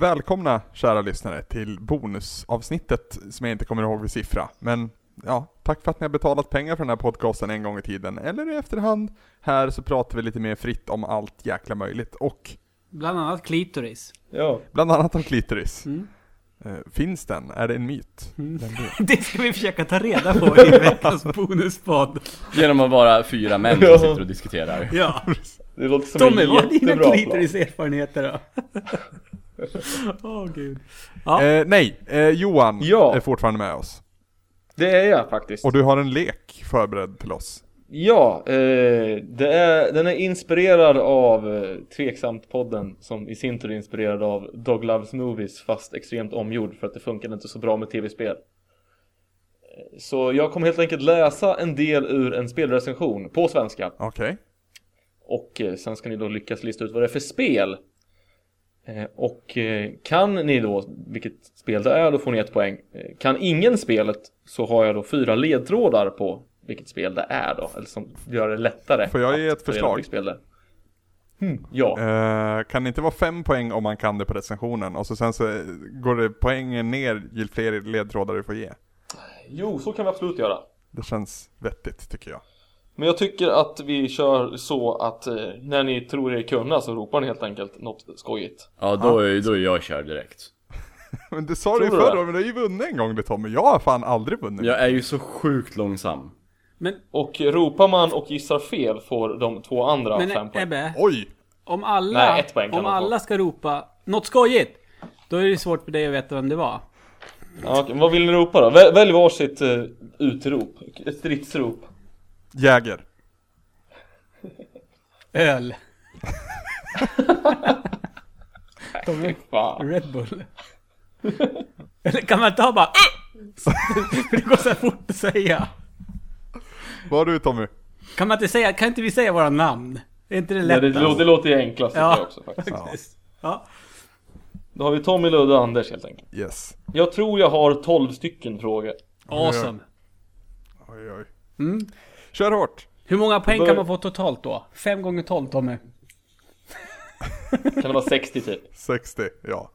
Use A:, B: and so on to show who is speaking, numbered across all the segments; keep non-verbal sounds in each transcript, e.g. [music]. A: välkomna kära lyssnare till bonusavsnittet som jag inte kommer ihåg vid siffra. Men ja, tack för att ni har betalat pengar för den här podcasten en gång i tiden, eller i efterhand. Här så pratar vi lite mer fritt om allt jäkla möjligt och
B: Bland annat klitoris.
C: Ja.
A: bland annat om klitoris.
B: Mm.
A: Eh, Finns den? Är det en myt?
B: Mm.
A: Den blir-
B: [laughs] Det ska vi försöka ta reda på i veckans [laughs] bonuspodd.
D: Genom att vara fyra män som sitter och diskuterar.
B: [laughs] Ja.
C: Det låter som
B: Tommy,
C: en
B: vad är dina
C: jättebra plan.
B: klitoriserfarenheter [laughs] då? Åh gud. Ja.
A: Eh, nej, eh, Johan
C: Ja.
A: är fortfarande med oss.
C: Det är jag faktiskt.
A: Och du har en lek förberedd till oss.
C: Ja, eh, det är, den är inspirerad av eh, Tveksamt-podden som i sin tur är inspirerad av Dog Loves Movies fast extremt omgjord för att det funkade inte så bra med tv-spel. Eh, Så jag kommer helt enkelt läsa en del ur en spelrecension på svenska
A: Okej.
C: och eh, sen ska ni då lyckas lista ut vad det är för spel. Eh, Och eh, kan ni då vilket spel det är, då får ni ett poäng. Eh, Kan ingen spelet så har jag då fyra ledtrådar på vilket spel det är då, eller som gör det lättare.
A: Får jag ge
C: att
A: ett
C: ta reda
A: förslag?
C: på vilket Spel det är. Hmm, ja,
A: Eh, kan det inte vara fem poäng om man kan det på recensionen? Och så sen så eh, går det poängen ner ju fler ledtrådar du får ge.
C: jo så kan vi absolut göra.
A: Det känns vettigt tycker jag. [laughs]
C: Men jag tycker att vi kör så att eh, när ni tror er kunna så ropar ni helt enkelt något skojigt.
D: Ja, då är, då är jag körd direkt.
A: Men det sa du ju
C: Tror du
A: förr
C: det?
A: men du har ju vunnit en gång det Tommy. Jag har fan aldrig vunnit.
D: Jag är ju så sjukt långsam.
B: Men,
C: Och eh, ropar man och gissar fel får de två andra fem
B: men
C: poäng.
B: Ebbe,
A: Oj!
B: om alla,
C: Nej, ett poäng kan
B: om
C: man få.
B: alla ska ropa något skojigt, då är det svårt för dig att veta vem det var.
C: Ja, okej, men vad vill ni ropa då? Väl- Välj varsitt uh, utrop, ett stridsrop
A: Jäger.
B: [laughs] Öl.
C: Fy fan.
B: Red Bull. [laughs] Eller kan man ta bara "Äh!" [laughs] För det går så här fort att säga.
A: Vad har du Tommy?
B: Kan man inte säga, kan inte vi säga våra namn? Är inte det
C: Nej, det,
B: lättast?
C: lå- det låter ju enklast tycker
B: Ja.
C: jag också faktiskt
B: Faktiskt. Ja.
C: Då har vi Tommy, Ludde och Anders helt enkelt
A: Yes.
C: Jag tror jag har 12 stycken frågor
B: Awesome.
A: Oj oj.
B: Mm.
A: Kör hårt!
B: Hur många poäng
C: Bör-
B: kan man få totalt då? 5 gånger 12 Tommy.
C: Kan det vara 60 typ?
A: 60, ja.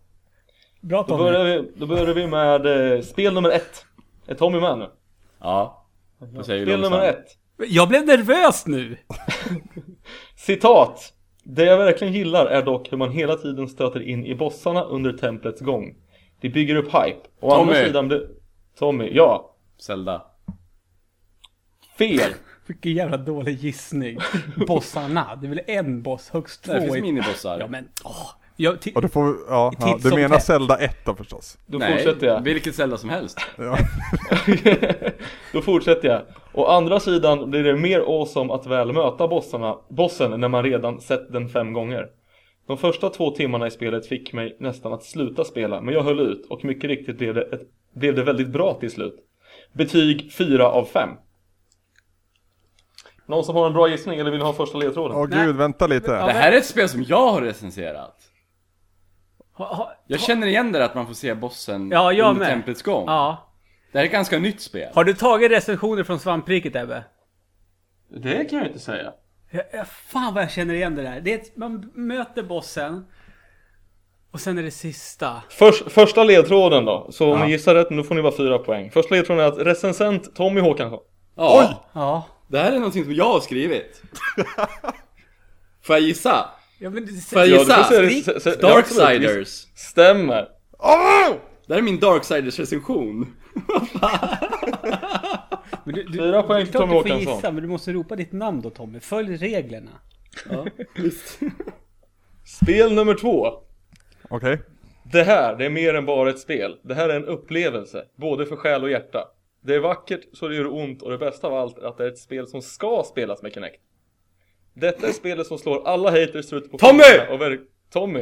B: Bra
C: Då
B: Tommy.
C: börjar vi, då börjar vi med eh, spel nummer ett Är Tommy med nu?
D: Ja. Då säger vi
C: Spel nummer
D: långsam.
C: ett
B: Jag blev nervös nu!
C: Citat Det jag verkligen gillar är dock hur man hela tiden stöter in i bossarna under templets gång Det bygger upp hype Å andra
D: Tommy.
C: sidan blir... Tommy, ja
D: Zelda.
C: Fel!
B: Vilken jävla dålig gissning. Bossarna, det är väl en boss, högst två.
D: Det finns
B: i-
D: minibossar.
B: Ja men, åh. Jag, ti-
A: Och du får, ja,
B: Titt
A: ja du
B: som
A: menar
B: tätt.
A: Zelda 1 då förstås.
C: Då
D: Nej,
C: fortsätter jag
D: vilket Zelda som helst.
A: Ja.
C: [laughs] Då fortsätter jag. Å andra sidan blir det mer awesome att väl möta bossarna, bossen när man redan sett den fem gånger. De första två timmarna i spelet fick mig nästan att sluta spela, men jag höll ut och mycket riktigt blev det, ett, blev det väldigt bra till slut. Betyg 4 av 5. Någon som har en bra gissning eller vill ha första ledtråden?
A: Åh gud, vänta lite.
D: Det här är ett spel som jag har recenserat.
B: ha, ha,
D: Jag känner igen det där att man får se bossen
B: Ja, jag
D: under
B: med.
D: templets gång.
B: ja.
D: Det här är ett ganska nytt spel.
B: Har du tagit recensioner från svampriket Ebbe?
C: Det kan jag inte säga.
B: Jag, jag, fan vad jag känner igen det där. Det är ett, man möter bossen. Och sen är det sista.
C: Först, första ledtråden då, så om
D: Ja.
C: ni gissar rätt nu får ni bara fyra poäng. Första ledtråden är att recensent Tommy Håkansson.
D: Ja.
B: Ja.
D: Det här är någonting som jag
C: [laughs]
D: har skrivit. Får jag gissa?
B: Ja men det,
D: Får jag
C: Ja, du
D: gissa?
C: får säga- sä- sä- ja, absolut.
D: Darksiders.
C: Stämmer!
A: Åh!
D: Det här är min Darksiders-recension.
B: men du, du,
C: Fyra poäng
B: det är
C: till
B: klart
C: Tommy
B: du får
C: Håkansson.
B: gissa, men du måste ropa ditt namn då Tommy. Följ reglerna.
D: Ja, visst. [laughs]
C: Spel nummer två.
A: Okej.
C: Det här, det är mer än bara ett spel. Det här är en upplevelse, både för själ och hjärta. Det är vackert så det gör ont och det bästa av allt är att det är ett spel som ska spelas med Kinect. Detta är spelet som slår alla haters ut på
D: Tommy!
C: fingrarna Och verk- Tommy!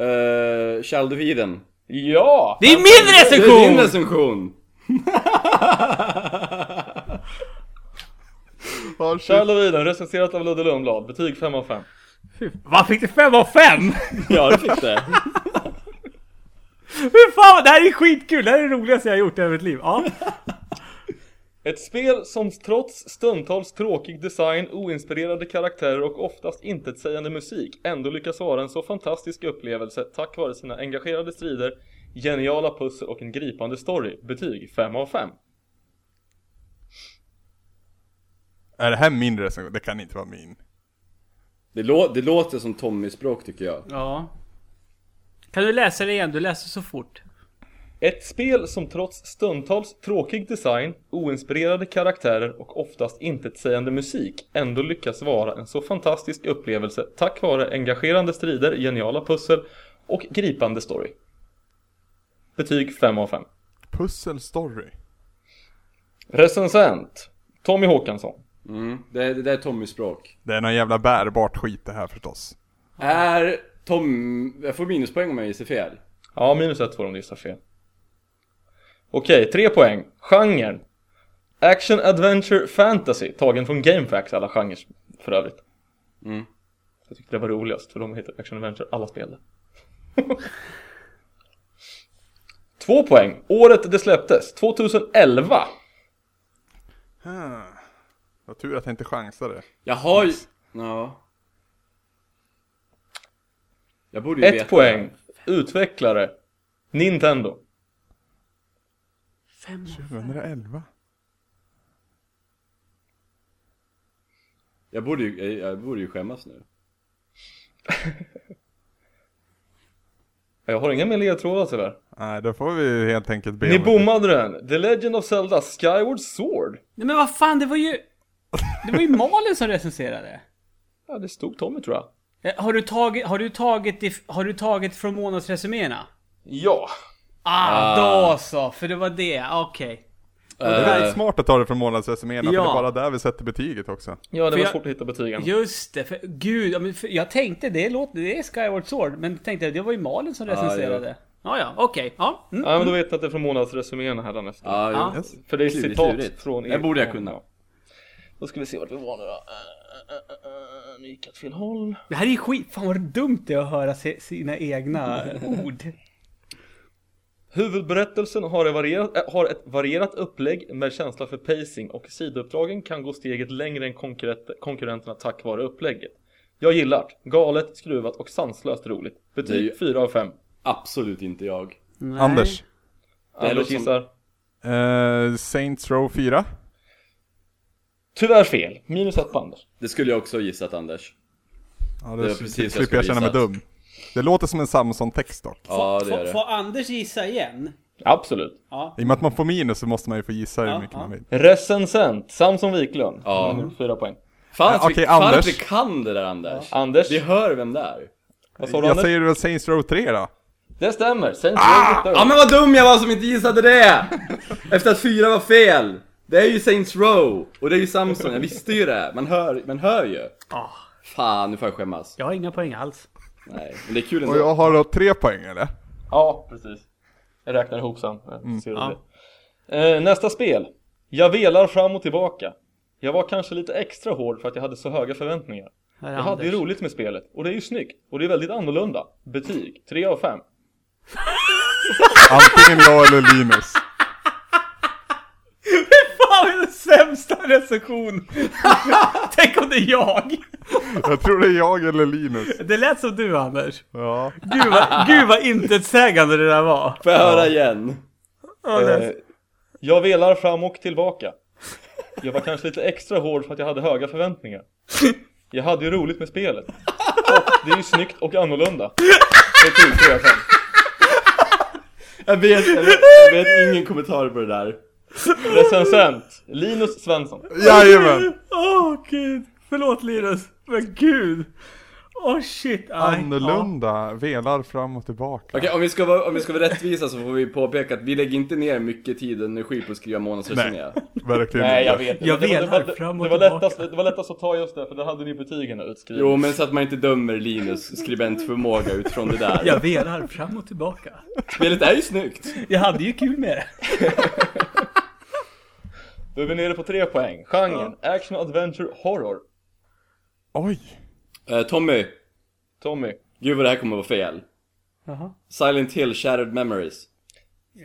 D: Uh, Child of Eden.
C: Ja!
B: Det är min
D: Det är
B: recension!
D: din recension!
A: Ja, shit.
C: Kärl och Viden, recenserat av Ludde Lundblad. Betyg 5 av 5.
B: Vad fick du fem av fem?
D: [laughs] Ja, det
B: [laughs]
D: fick det.
B: Hur fan, det här är skitkul! Det här är det roligaste jag har gjort i hela mitt liv. Ja.
C: Ett spel som trots stundtals tråkig design, oinspirerade karaktärer och oftast intetsägande musik ändå lyckas vara en så fantastisk upplevelse tack vare sina engagerade strider, geniala pussel och en gripande story. Betyg 5 av 5.
A: Är det här min recension? Det kan inte vara min.
D: Det, lå- det låter som Tommy-språk tycker jag.
B: Ja. Kan du läsa det igen? Du läser så fort.
C: Ett spel som trots stundtals tråkig design, oinspirerade karaktärer och oftast intetsägande musik ändå lyckas vara en så fantastisk upplevelse tack vare engagerande strider, geniala pussel och gripande story. Betyg 5 av 5.
A: Pussel story.
C: Recensent Tommy Håkansson.
D: Mm. Det, det där är Tommy-språk.
A: Det är någon jävla bärbart skit det här förstås.
D: Är Tom... Jag får minuspoäng om jag gissar fel.
C: Ja, minus ett får de om du gissar fel. Okej, tre poäng. Genren. Action, adventure, fantasy. Tagen från GameFAQs alla genrer för övrigt.
D: Mm.
C: Jag tyckte det var roligast för de heter action, adventure, alla [laughs] spel. Två poäng. Året det släpptes. 2011.
A: Hmm. Vad tur att jag inte chansade.
D: Jag har ju... Ja. Jag borde ju veta
C: Ett poäng. Utvecklare. Nintendo.
B: Fem.
A: 2011?
D: Jag borde ju, jag- jag borde ju skämmas nu.
C: Jag har inga mer ledtrådar tyvärr.
A: Nej, då får vi helt enkelt be
C: Ni
A: om-
C: bommade den. The Legend of Zelda Skyward Sword.
B: Nej men vad fan, det var [laughs] ju... Det var ju Malin som recenserade.
C: Ja, det stod Tommy tror jag.
B: Eh, Har du tagit, har du tagit, if- har du tagit från månadsresuméerna?
C: Ja.
B: Ah,
D: Ah.
B: då så, för det var det. Okej.
A: Det där är
D: Eh,
A: smart att ta det från månadsresuméerna, för det
B: Ja.
A: är bara där vi sätter betyget också.
C: Ja, det
B: För
C: var
B: jag-
C: svårt att hitta betygen.
B: Just det, för gud. ja, men för Jag tänkte det låter, det är Skyward Sword. Men tänkte jag, det var ju Malin som recenserade. Ja, ja, okej. ja. Mm.
C: Ja, men då vet ni att det är från månadsresuméerna här nästa.
D: Ja,
B: Ja.
D: jo.
A: Yes.
C: För det är
D: klurigt,
C: citat
D: klurigt.
C: från
D: Det borde jag kunna.
C: Ja. Då ska vi se vart vi var nu då. Äh, Eh, eh, eh, eh, Nu gick jag åt fel håll.
B: Det här är ju skit. Fan vad dumt det är att höra si- sina [laughs] egna ord.
C: Huvudberättelsen har, ett varierat, äh, har ett varierat upplägg med känsla för pacing och sidouppdragen kan gå steget längre än konkurrent, konkurrenterna tack vare upplägget. Jag gillar det. Galet, skruvat och sanslöst roligt.
D: Det är
C: Betyg
D: ju-
C: 4 av 5.
D: Absolut inte jag.
B: Nej.
A: Anders.
C: Anders
D: låter som-
C: gissar.
A: Eh, Saints Row 4?
C: Tyvärr fel. Minus ett på Anders.
D: Det skulle jag också ha gissat Anders.
A: Ja,
D: Det var
A: det
D: precis jag
A: slipper
D: skulle
A: jag känna mig
D: gissa.
A: dum. Det låter som en Samson-text dock.
D: Ja, det är
B: Får
D: det.
B: Anders gissa igen?
C: Absolut.
B: Ja.
A: I och med att man får minus så måste man ju få gissa hur
B: Ja,
A: mycket
B: ja.
A: man vill.
C: Recensent, Samson Wiklund.
D: Ja.
C: Mm, Fyra poäng.
D: Fan
A: Eh,
D: att vi-
A: okej,
D: fan
A: Anders.
D: att vi kan det där Anders.
C: Anders,
D: Vi hör vem det är.
C: vad sa du
A: Jag
C: Anders?
A: säger Ah! väl Saints Row 3 då?
C: Det stämmer, Saints Row
D: Ja men vad dum jag var som inte gissade det! Efter att fyra var fel! Det är ju Saints Row, och det är ju Samson, jag visste ju det! Man hör, man hör ju!
B: Ah,
D: Fan, nu får jag skämmas.
B: jag har inga poäng alls.
D: Nej, men det är kul
A: Och
D: ändå.
A: jag har då tre poäng eller?
C: Ja, precis. Jag räknar ihop sen. Mm. Ser ja. eh, nästa spel. Jag velar fram och tillbaka. Jag var kanske lite extra hård för att jag hade så höga förväntningar.
B: Här är
C: Jag hade ju
B: Anders.
C: roligt med spelet och det är ju snyggt och det är väldigt annorlunda. Betyg 3 av 5.
A: Antingen jag eller Linus.
B: [laughs] Fan, det är den sämsta recension! [laughs] Tänk om det är jag!
A: Jag tror det är jag eller Linus.
B: Det lät som du Anders.
A: Ja.
B: Gud vad, gud vad intetsägande det där var.
D: Får jag höra igen?
B: Ja, det-
C: Eh, jag velar fram och tillbaka. Jag var kanske lite extra hård för att jag hade höga förväntningar. Jag hade ju roligt med spelet. Och det är ju snyggt och annorlunda. Betyg 3 av 5.
D: Jag vet, jag vet, jag vet ingen kommentar på det där.
C: Recensent Linus Svensson.
A: Jajamän!
B: Åh gud! Förlåt Linus, men gud! Åh shit! Aj,
A: Annorlunda, velar fram och tillbaka.
D: Okej, om vi ska vara, om vi ska vara rättvisa så får vi påpeka att vi lägger inte ner mycket tid och energi på att skriva månadsresenär.
A: Verkligen
C: Nej jag
A: inte.
C: vet
B: Jag
C: Det var- det var-
B: velar fram och
C: det var
B: tillbaka.
C: lättast, det var lättast att ta just det för då hade ni betygen utskrivna.
D: Jo, men så att man inte dömer Linus skribentförmåga utifrån det
B: Ja. Jag
D: där.
B: velar fram och tillbaka.
D: Spelet är ju snyggt!
B: Jag hade ju kul med det.
C: Då är vi nere på tre poäng. Genren, action, adventure, horror.
A: Oj!
D: Eh, Tommy,
C: Tommy.
D: gud vad det här kommer att vara fel.
B: Jaha.
D: Silent Hill Shattered Memories.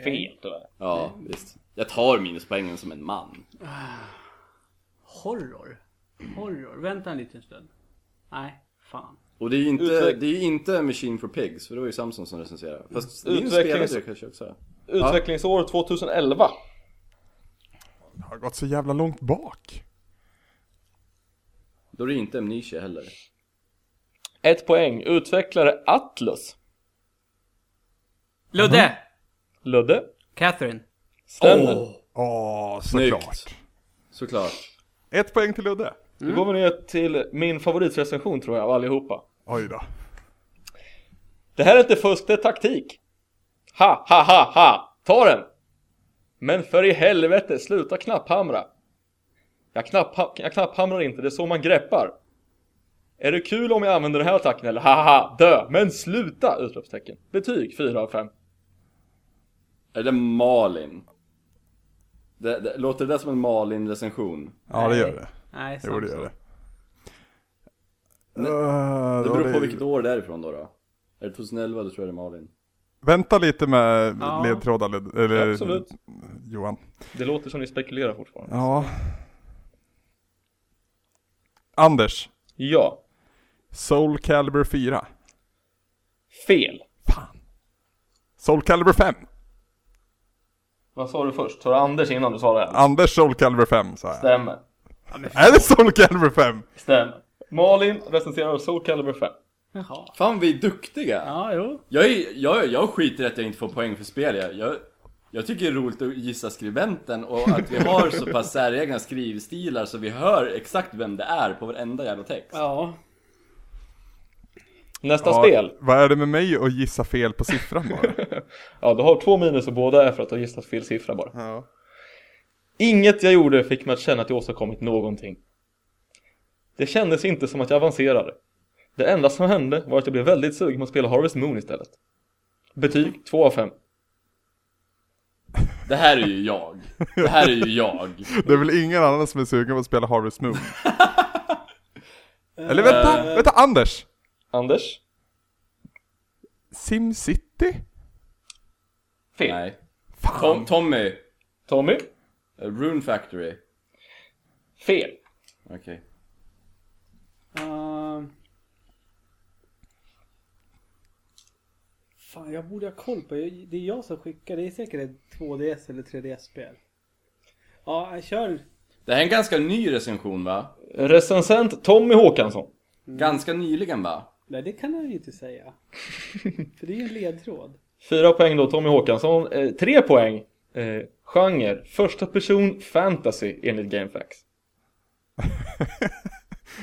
C: Fel tyvärr.
D: Ja,
C: Mm.
D: visst. Jag tar minuspoängen som en man.
B: Horror? Horror? Vänta en liten stund. Nej, fan.
D: Och det är ju inte,
C: Utveck-
D: det är ju inte Machine for Pigs, för det var ju Samson som recenserade. Fast din
C: Utvecklings-
D: spelade det kanske också.
C: Utvecklingsår 2011.
A: Det har gått så jävla långt bak.
D: Då är det ju inte Amnesia heller.
C: Ett poäng. Utvecklare Atlus.
B: Ludde!
C: Ludde.
B: Catherine.
C: Stämmer.
A: Åh,
D: Snyggt.
A: såklart.
D: Såklart.
A: Ett poäng till Ludde.
C: Då går vi ner till min favoritrecension tror jag av allihopa.
A: Oj då.
C: Det här är inte fusk, det är taktik. Ha, ha, ha, ha! Ta den! Men för i helvete, sluta knapphamra! Jag, knappha- jag knapphamrar inte, det är så man greppar. Är det kul om jag använder den här attacken eller? Ha, ha, ha, dö! Men sluta! Utropstecken. Betyg 4 av 5.
D: Är det Malin? Det, det, låter det där som en Malin-recension?
A: Ja, det gör det.
B: Nej,
A: Jo, det
B: Samson.
A: gör det.
D: Nej,
A: Eh,
D: Det
A: då
D: beror
A: är
D: på vilket år det är ifrån då. då. Är det 2011 då tror jag det är Malin.
A: Vänta lite med
B: Ja.
A: ledtrådar, Lud- eller
C: Absolut.
A: Johan.
C: Det låter som ni spekulerar fortfarande.
A: Ja. Anders.
C: Ja.
A: Soul Calibur 4.
C: Fel.
A: Fan. Soul Calibur 5.
C: Vad sa du först? Sa du Anders innan du sa det? Här?
A: Anders Soul Calibur 5 sa jag.
C: Stämmer.
A: Är det Soul Calibur 5?
C: Stämmer. Malin recenserar Soul Calibur 5.
B: Jaha.
D: Fan vi är duktiga!
B: Ja, jo.
D: Jag, är, jag, jag skiter i att jag inte får poäng för spel. Jag, jag, jag tycker det är roligt att gissa skribenten och att vi har så pass säregna skrivstilar så vi hör exakt vem det är på varenda jävla text.
B: Ja.
C: Nästa spel.
A: Vad är det med mig att gissa fel på siffran bara?
C: Ja, du har två minus och båda är för att du har gissat fel siffra bara.
A: ja.
C: Inget jag gjorde fick mig att känna att jag åstadkommit någonting. Det kändes inte som att jag avancerade. Det enda som hände var att jag blev väldigt sugen på att spela Harvest Moon istället. Betyg 2 av 5.
D: Det här är ju jag. Det här är ju jag.
A: Det är väl ingen annan som är sugen på att spela Harvest Moon? eller vänta,
D: Eh.
A: vänta Anders!
C: Anders?
A: SimCity?
C: Fel.
D: [laughs] Nej.
A: Fan.
D: Tom, Tommy!
C: Tommy?
D: Rune Factory.
C: Fel.
D: Okej.
B: Ehm. Fan, jag borde ha koll på. Jag- Det är jag som skickar. Det är säkert ett 2DS eller 3DS-spel. Ja, jag kör.
D: Det här är en ganska ny recension va?
C: Recensent Tommy Håkansson.
D: Ganska nyligen va?
B: Nej, det kan jag ju
A: [laughs]
B: inte säga. För det är ju en ledtråd.
C: Fyra poäng då Tommy Håkansson. Eh, tre poäng. Eh, genre. Första person fantasy enligt Gamefax.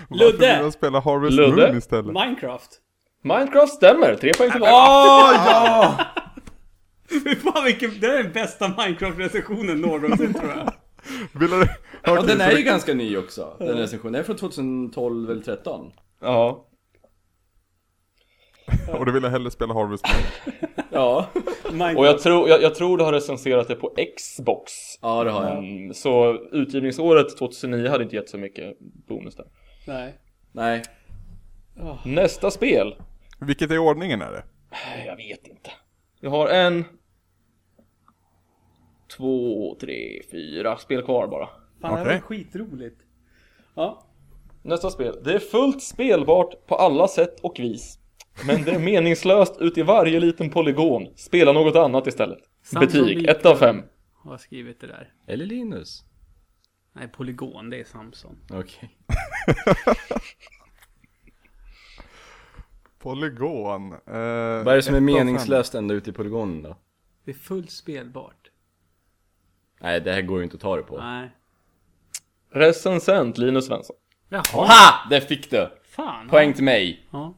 A: Varför
B: Ludde!
A: vill de spela Harvest
C: Ludde?
A: Moon istället?
B: Minecraft.
C: Minecraft stämmer. Tre poäng till var.
D: Åh ja!
B: Fy fan vilken, det är den bästa Minecraft-recensionen någonsin tror jag.
A: Vill du...
D: Ja,
A: Okej,
D: den
A: så
D: är
A: det-
D: ju ganska ny också, den recensionen. Den är från 2012 eller 13
C: Ja.
A: Och du vill hellre spela Harvest Moon?
D: Ja.
C: Och jag tror, jag, jag tror du har recenserat det på Xbox.
D: Ja, det har jag.
C: Mm, så utgivningsåret 2009 hade inte gett så mycket bonus där.
B: Nej.
D: Nej.
C: Nästa spel?
A: Vilket är ordningen är det?
C: Eh, Jag vet inte. Jag har en... Två, tre, fyra spel kvar bara.
B: Fan, det här
A: Okej.
B: var skitroligt. Ja.
C: Nästa spel. Det är fullt spelbart på alla sätt och vis. Men det är meningslöst ut i varje liten polygon. Spela något annat istället.
B: Samsung
C: Betyg
B: Mika.
C: 1 av 5.
B: har skrivit det där.
D: Eller Linus.
B: Nej, Polygon, det är Samson.
D: Okej.
A: Polygon? Eh,
D: Vad är det som är
A: ett av fem.
D: meningslöst ända ute i polygonen då?
B: Det är fullt spelbart.
D: Nej, det här går ju inte att ta det på.
B: Nej.
C: Recensent Linus Svensson.
B: Jaha,
D: Ha! Där fick du!
B: fan.
D: Poäng till mig.
B: Ja.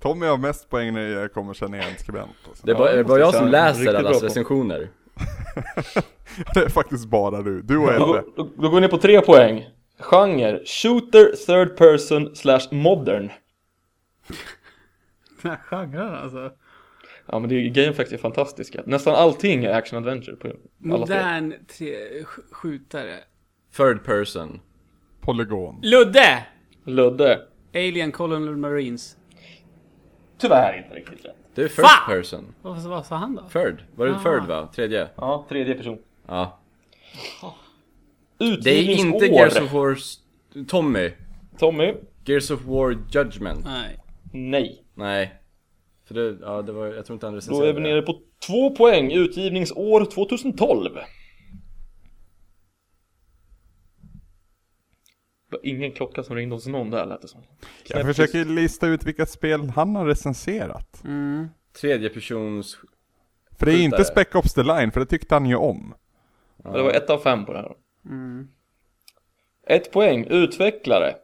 A: Tommy har mest poäng när jag kommer känna igen skribent och så.
D: Det är bara,
C: det
D: det är bara
C: måste
D: jag
C: jag
D: som
C: säga.
D: läser
C: Riktigt bra
D: allas
C: på.
D: recensioner.
A: Det är faktiskt bara du, du och
C: Då,
A: Ebbe
C: då, då går vi ner på tre poäng. Genre. Shooter third person slash modern.
B: Den här genren alltså.
C: Ja men det är ju Gamefax är fantastiska. Nästan allting är action adventure på alla spel.
B: Modern tre, sk- skjutare.
D: Third person.
A: Polygon
B: Ludde!
C: Ludde.
B: Alien Colonial Marines.
C: tyvärr inte riktigt rätt.
E: Du är first
B: Fan!
E: person.
B: Vad, vad sa han då?
E: Third. Var det
B: Ah.
E: third va? Tredje?
C: Ja, tredje person.
E: Ja. Det är
C: Utgivningsår.
E: inte Gears of War... Tommy.
C: Tommy?
E: Gears of War Judgment.
B: Nej.
C: Nej.
E: Nej. För det, ja det var, jag tror inte han recenserade
C: Då är vi nere på två poäng. Utgivningsår 2012. Det var ingen klocka som ringde hos någon där lät det som.
A: Jag försöker lista ut vilka spel han har recenserat.
D: Mm.
E: Tredje persons...
A: För det är inte
E: Skjutare.
A: Spec Ops The Line, för det tyckte han ju om.
C: Ja, Det var ett av fem på det här. Mm. Ett poäng. Utvecklare.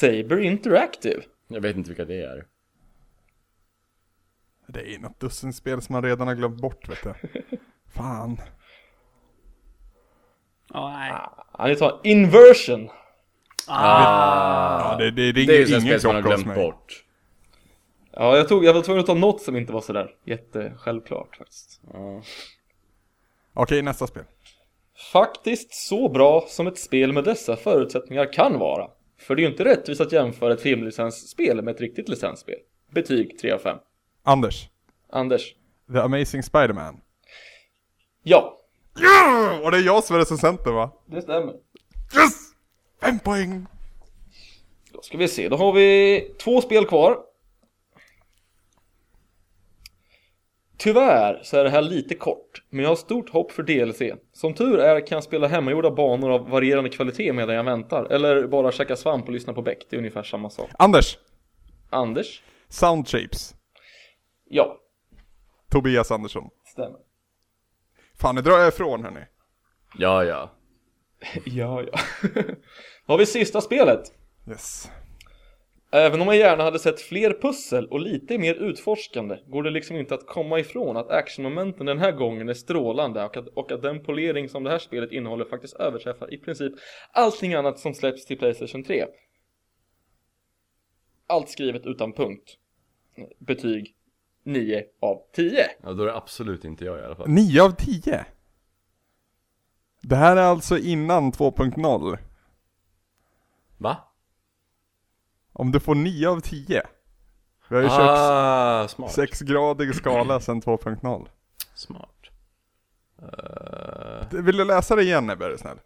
C: Saber Interactive.
E: Jag vet inte vilka det är.
A: Det är något dussin spel som man redan har glömt bort vet [laughs] du. Fan.
B: Ja, nej.
C: Ja, ni tar Inversion.
A: Ja, det, det
E: Det är ju
A: ringer
E: sådana
A: ingen
E: spel som man
A: klocka
E: har
A: hos
E: glömt
A: mig.
E: bort.
C: Ja, jag, tog, jag var tvungen att ta något som inte var sådär jättesjälvklart faktiskt.
A: Okej, nästa spel.
C: Faktiskt så bra som ett spel med dessa förutsättningar kan vara. För det är ju inte rättvist att jämföra ett filmlicensspel med ett riktigt licensspel. Betyg 3 av 5.
A: Anders.
C: Anders?
A: The Amazing Spider-Man.
C: Ja,
A: Ja! Och det är jag som är recensenten va?
C: det stämmer.
A: Yes! Fem poäng!
C: Då ska vi se, då har vi två spel kvar. Tyvärr så är det här lite kort, men jag har stort hopp för DLC. Som tur är kan jag spela hemmagjorda banor av varierande kvalitet medan jag väntar, eller bara käka svamp och lyssna på Beck, det är ungefär samma sak.
A: Anders.
C: Anders?
A: Sound Shapes.
C: Ja,
A: Tobias Andersson.
C: stämmer.
A: Fan, nu drar jag ifrån hörni.
E: Ja, ja.
C: Ja, ja. [laughs] då har vi sista spelet.
A: Yes.
C: Även om jag gärna hade sett fler pussel och lite mer utforskande går det liksom inte att komma ifrån att actionmomenten den här gången är strålande och att, och att den polering som det här spelet innehåller faktiskt överträffar i princip allting annat som släpps till Playstation 3. Allt skrivet utan punkt. Betyg 9 av 10.
E: Ja, då är det absolut inte jag i alla fall.
A: 9 av 10. Det här är alltså innan 2.0.
E: Va?
A: Om du får 9 av 10. Vi har ju kört
E: Ah, smart.
A: sexgradig skala sedan 2.0.
E: Smart.
A: Vill du läsa det igen Ebbe, är du snäll?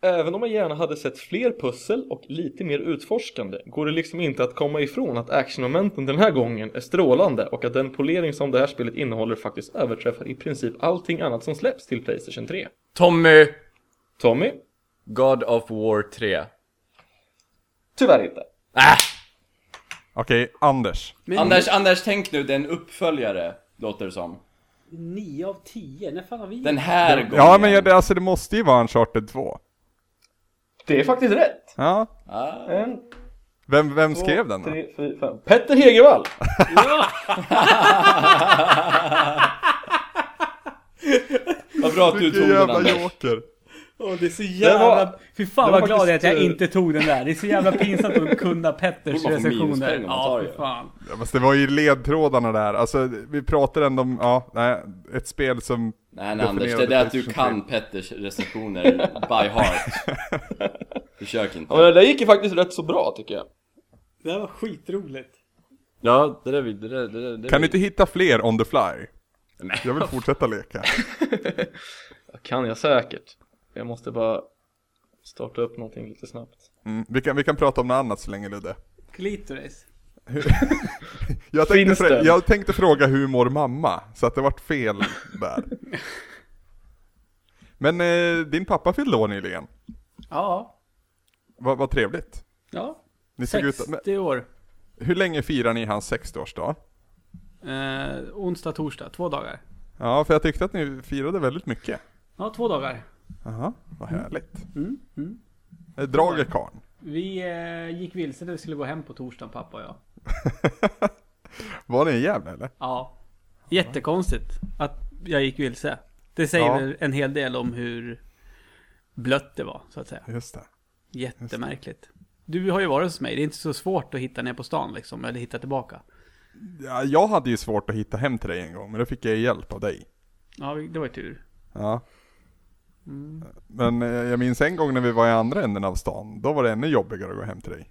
C: Även om jag gärna hade sett fler pussel och lite mer utforskande går det liksom inte att komma ifrån att actionmomenten den här gången är strålande och att den polering som det här spelet innehåller faktiskt överträffar i princip allting annat som släpps till Playstation 3.
E: Tommy!
C: Tommy?
E: God of War 3.
C: Tyvärr inte.
A: Okej, Anders.
B: Men
D: Anders, Anders, tänk nu, det är en uppföljare, låter det som.
B: 9 av 10? När fan har vi...
D: Den här gången.
A: Ja men jag, det- alltså det måste ju vara Uncharted 2.
C: Det är faktiskt rätt!
A: Ja.
D: Ah,
C: En,
A: Vem, vem
C: två,
A: skrev den då?
C: tre, fyra, fem. Petter Hegervall!
D: vad bra att du
A: Vilken
D: tog den
A: jävla
D: Anders.
A: joker.
B: Åh, det är så
C: Det
B: jävla...
C: var-
B: Fy fan
C: det
B: vad
C: var
B: glad jag är att
C: faktiskt,
B: jag
C: eh,
B: inte tog den där. Det är så jävla pinsamt att kunna Petters
D: Borde man få
B: recensioner.
D: minuspoäng om man
B: Ja,
D: tar
B: fy
D: det?
B: fan.
A: Ja, fast det var ju ledtrådarna där. Alltså vi pratade ändå om, ja, nej, ett spel som...
D: Nej, nej Anders, det är
A: Definierade
D: det att du
A: PlayStation
D: kan Petters recensioner
A: [laughs]
D: by heart. Försök
C: Ja,
D: inte.
C: men det gick ju faktiskt rätt så bra tycker jag.
B: Det här var skitroligt.
E: Ja, det där vi... Det där, det där, det
A: Kan du
E: där-
A: inte hitta fler on the fly? Jag vill fortsätta leka.
C: Det kan jag säkert. Jag måste bara starta upp någonting lite snabbt.
A: Mm, vi, kan, vi kan prata om något annat så länge Ludde.
B: Klitoris.
A: Jag tänkte,
C: Finns
A: frä-
C: den?
A: jag tänkte fråga hur mår mamma? Så att det vart fel
C: [laughs]
A: där. Men eh, din pappa fyllde år nyligen.
B: Ja.
A: Vad vad trevligt.
B: Ja.
A: Ni såg ut, men,
B: 60 år.
A: hur länge firar ni hans 60-årsdag?
B: Eh, onsdag, torsdag. Två dagar.
A: Ja, för jag tyckte att ni firade väldigt mycket.
B: Ja, två dagar.
A: Jaha, vad härligt.
B: Mm. Mm.
A: Eh, Drager karln.
B: Vi eh, gick vilse när vi skulle gå hem på torsdagen, pappa och jag.
A: Var ni i Gävle eller?
B: Ja. Jättekonstigt att jag gick vilse. Det säger
A: Ja.
B: väl en hel del om hur blött det var, så att säga.
A: Just det.
B: Jättemärkligt. Du har ju varit hos mig, det är inte så svårt att hitta ner på stan liksom, eller hitta tillbaka.
A: Ja, jag hade ju svårt att hitta hem till dig en gång, men då fick jag hjälp av dig.
B: Ja, vi- det var ju tur.
A: Ja.
B: Mm.
A: Men eh, jag minns en gång när vi var i andra änden av stan, då var det ännu jobbigare att gå hem till dig.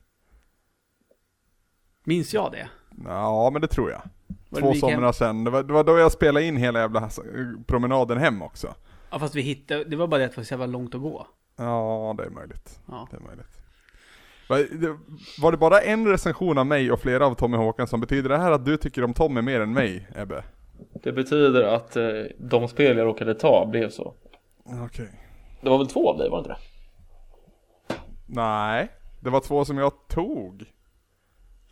B: Minns jag det?
A: Ja, men det tror jag.
B: Var det
A: Två
B: vi gick hem?
A: somrar sen. Det var, det var då jag spelade in hela jävla eh, promenaden hem också.
B: Ja fast vi hittade, det var bara det att det var så jävla långt att gå.
A: Ja, det är möjligt.
B: Ja.
A: Det är möjligt. Var det, var det bara en recension av mig och flera av Tommy Håkansson? Betyder det här att du tycker om Tommy mer än mig, Ebbe?
C: Det betyder att eh, de spel jag råkade ta blev så.
A: Okej.
C: Det var väl två av dig, var det inte det?
A: Nej, det var två som jag tog.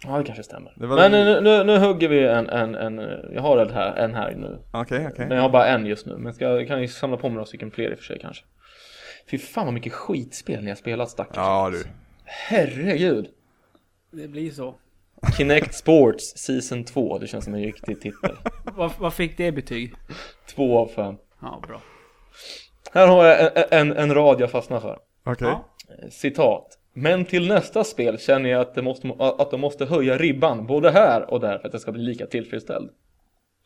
C: Ja, det kanske stämmer.
A: Det var-
C: Men nu, nu, nu hugger vi en, en, en, eh, jag har en här, en här nu.
A: Okej, okej.
C: Men jag har bara en just nu, men ska, jag kan ju samla på mig några stycken fler i och för sig kanske. Fy fan vad mycket skitspel ni har spelat stackars.
A: Ja du.
C: Herregud.
B: Det blir så.
C: Kinect Sports Season 2, det känns som en riktig titel.
B: Vad, vad fick det betyg?
C: Två av fem.
B: Ja, bra.
C: Här har jag en, en, en rad jag fastnar för.
A: Okej.
B: Ja.
C: Citat. Men till nästa spel känner jag att, det måste, att de måste höja ribban både här och där för att jag ska bli lika tillfredsställd.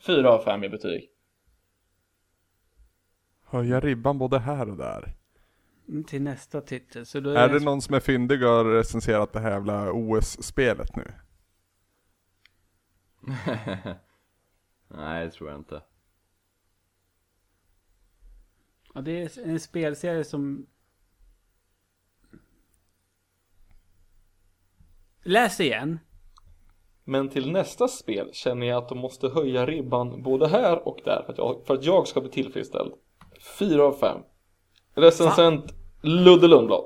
C: Fyra av fem i betyg.
A: Höja ribban både här och där.
B: Mm, Till nästa titel. Så då
A: Är
B: är
A: det
B: det
A: någon som är fyndig och har recenserat det här jävla OS-spelet nu?
D: Nej, det tror jag inte.
B: ja, det är en spelserie som... Läs igen.
C: Men till nästa spel känner jag att de måste höja ribban både här och där för att jag, för att jag ska bli tillfredsställd. Fyra av fem. Recensent Ludde Lundblad.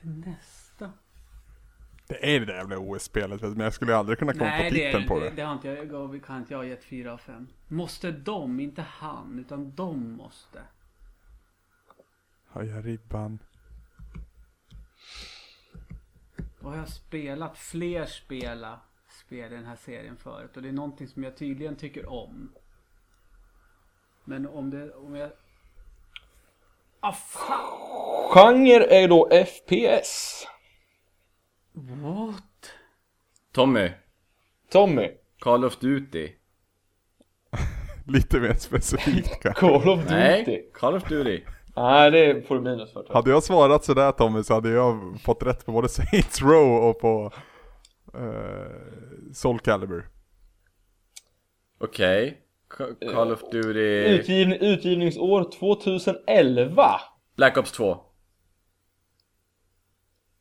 B: Till nästa.
A: Det är det där jävla OS-spelet vet du, men jag skulle aldrig kunna komma på
B: det,
A: titeln på det.
B: det, det har inte jag, gav, kan inte jag ha gett 4 av 5. Måste de, inte han, utan de måste.
A: Höja ribban.
B: Vad har jag spelat? Fler spela spel i den här serien förut. Och det är någonting som jag tydligen tycker om. Men om det, om jag... Ah fan!
C: Genre är ju då FPS.
B: What?
E: Tommy,
C: Tommy.
E: Call of Duty.
A: Lite mer specifikt kanske.
C: Call of Duty.
E: Nej, Call of Duty.
C: Nej, det får du minus för. tror jag.
A: Hade jag svarat sådär Tommy så hade jag fått rätt på både [laughs] Saints Row och på eh, Soul Calibur.
E: Okej. Ca- Call of Duty.
C: Utgivning, utgivningsår 2011.
E: Black Ops 2.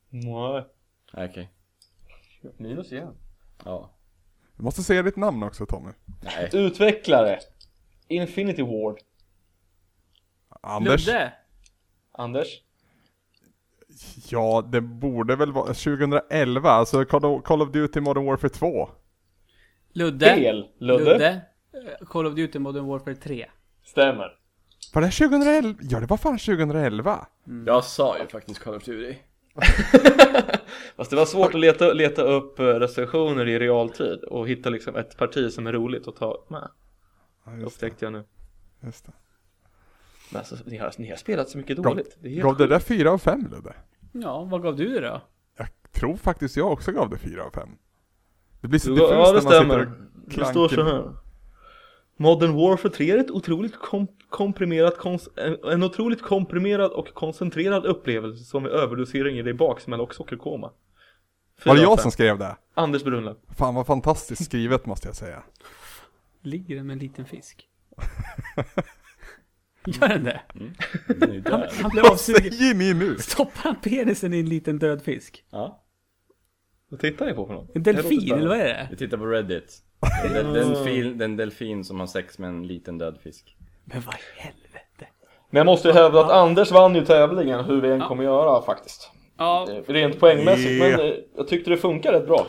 C: Nej.
E: Nej, Okej.
C: Minus igen.
E: Ja.
A: Du måste säga ditt namn också Tommy.
E: Nej.
C: Utvecklare. Infinity Ward.
A: Anders?
B: Ludde!
C: Anders.
A: Ja, det borde väl vara 2011, alltså Call of- Call of Duty Modern Warfare 2.
B: Ludde!
C: Fel. Ludde.
B: Eh, Call of Duty Modern Warfare 3.
C: Stämmer.
A: Var det 2011? Ja, det var fan 2011.
E: Jag sa ju faktiskt Call of Duty.
C: Fast det var svårt att leta, leta upp eh, recensioner i realtid och hitta liksom ett parti som är roligt att ta med.
A: Ja,
C: Det
A: just det,
C: upptäckte jag nu.
A: just det.
C: Men alltså, ni har, ni har spelat så mycket
A: Gav,
C: dåligt. Det är helt
A: gav det
C: sjukt.
A: där 4 av 5 Ludde?
B: Ja, vad gav du det då?
A: Jag tror faktiskt jag också gav det 4 av 5. Det blir så
C: Du-
A: diffust
C: Ja, det
A: när man sitter
C: stämmer.
A: och
C: Det står så
A: klankar.
C: här. Modern Warfare 3 är ett otroligt kom komprimerat kons- en- en otroligt komprimerad och koncentrerad upplevelse som vid överdosering ger dig baksmälla och sockerkoma.
A: Var det
C: Fyra av
A: jag
C: fem.
A: som skrev det?
C: Anders Brunlöv.
A: Fan vad fantastiskt skrivet måste jag säga.
B: Ligger den med en
A: [laughs]
B: liten fisk? Gör den det?
E: Den är ju död.
B: Han blev avsugen.
A: Jimmy Mus!
B: Stoppar han penisen i en liten död fisk?
E: Ja.
C: Vad tittar ni på för något?
B: En
C: Det låter
B: delfin,
C: spännande.
B: eller vad är det?
E: Vi tittar på Reddit. Den, den, den, fil, den delfin som har sex med en liten död fisk.
B: Men vad i helvete?
C: Men jag måste ju hävda att Anders vann ju tävlingen hur vi än kommer göra faktiskt.
B: Ja,
C: Eh, Rent poängmässigt,
A: Yeah.
C: men eh, jag tyckte det funkar rätt bra.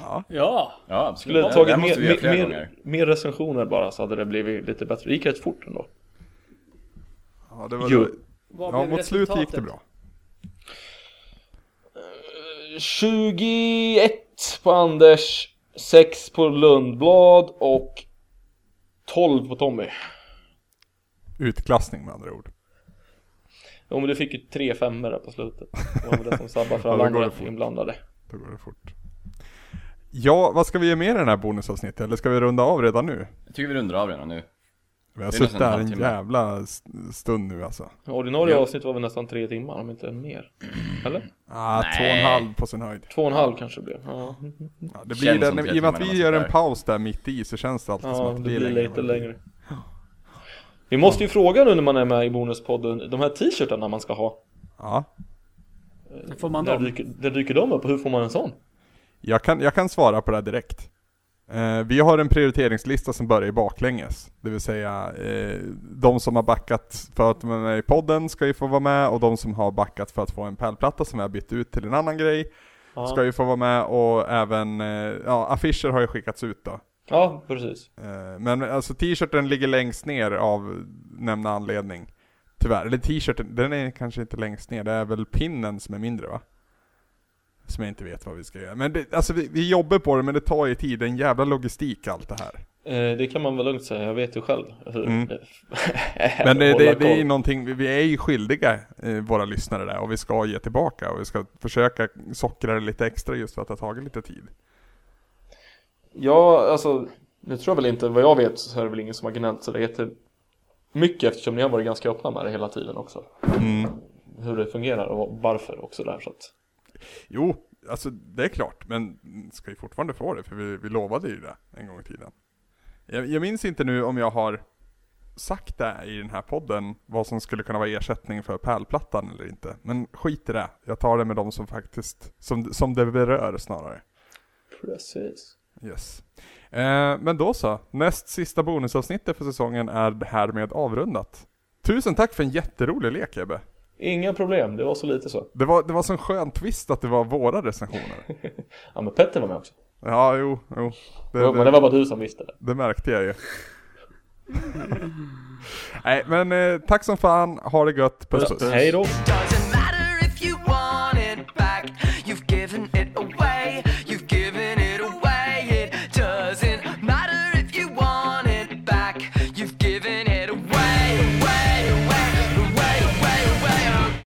B: ja.
E: Ja, absolut.
C: Skulle ha
E: Den-
C: tagit
E: den måste
C: mer,
E: vi göra flera
C: mer, mer,
E: gånger.
C: mer recensioner bara så hade det blivit lite bättre. Det gick rätt fort ändå.
A: Ja, det var
C: Jo.
A: ja mot slutet gick det bra.
C: 21 på Anders, 6 på Lundblad och 12 på Tommy.
A: Utklassning med andra ord.
C: Jo men du fick ju tre femmor där på slutet. Det var väl det som sabbade för
A: Ja, då
C: alla
A: går det
C: andra
A: fort.
C: inblandade.
A: Då går det fort. Ja, vad ska vi ge mer i den här bonusavsnittet? Eller ska vi runda av redan nu?
E: Jag tycker vi rundar av redan nu.
A: Vi har
E: Det är
A: suttit
E: nästan en
A: här en
E: halvtimme.
A: jävla s- stund nu alltså.
C: Ordinarie avsnitt var väl nästan tre timmar, om inte mer. Eller?
A: Ah, två och en
E: Nej.
A: halv på sin höjd.
C: Två och en halv kanske det blev. Ja,
A: Ja, det blir
E: Känns
A: det,
E: som tre
A: I och med att
E: timmar
A: vi
E: när
A: gör
E: man
A: en
E: sitter
A: paus där mitt i så känns det alltid som
C: ja
A: att
C: det blir lite längre.
A: Ja.
C: Vi måste ju fråga nu när man är med i Bonuspodden, de här t-shirtarna man ska ha.
A: Ja.
B: Får man
C: Där
B: dem?
C: dyker, där dyker de upp, och hur får man en sån?
A: Jag kan, jag kan svara på det här direkt. Eh, vi har en prioriteringslista som börjar i baklänges. Det vill säga, eh, de som har backat för att de är med i podden ska ju få vara med och de som har backat för att få en pärlplatta som jag har bytt ut till en annan grej
C: Ja,
A: ska ju få vara med och även, eh, ja affischer har ju skickats ut då.
C: ja precis.
A: Eh, Men alltså t-shirten ligger längst ner av nämnda anledning. Tyvärr. Eller t-shirten, den är kanske inte längst ner. Det är väl pinnen som är mindre va? Som jag inte vet vad vi ska göra. Men det, alltså vi, vi jobbar på det men det tar ju tid. Det är en jävla logistik allt det här.
C: Eh, det kan man väl lugnt säga, jag vet ju själv hur [laughs]
A: Mm.
C: är
A: Men det,
C: att
A: det,
C: hålla
A: det är ju
C: koll.
A: någonting, vi- vi är ju skyldiga eh, våra lyssnare där och vi ska ge tillbaka och vi ska försöka sockra det lite extra just för att det har tagit lite tid.
C: Ja, alltså nu tror jag väl inte, vad jag vet så är det väl ingen som har gnällt så det heter mycket eftersom ni har varit ganska öppna med det hela tiden också.
A: Mm.
C: Hur det fungerar och varför också där så att
A: Jo, alltså det är klart, men ska ju fortfarande få det, för vi, vi lovade ju det en gång i tiden. Jag, jag minns inte nu om jag har sagt det i den här podden, vad som skulle kunna vara ersättning för pärlplattan eller inte. Men skit i det, jag tar det med de som faktiskt, som, som det berör snarare.
C: Precis.
A: Yes. Eh, men då så, näst sista bonusavsnittet för säsongen är det här med avrundat. Tusen tack för en jätterolig lek Ebbe.
C: Inga problem, det var så lite så.
A: Det var, det var sån skön twist att det var våra recensioner.
C: Ja men Petter var med också.
A: Ja, jo, jo. Det-
C: Men
A: det-
C: det var bara du som visste det.
A: Det märkte jag ju. Nej men eh, tack som fan, ha det gött, puss puss.
C: Hej då!
F: Done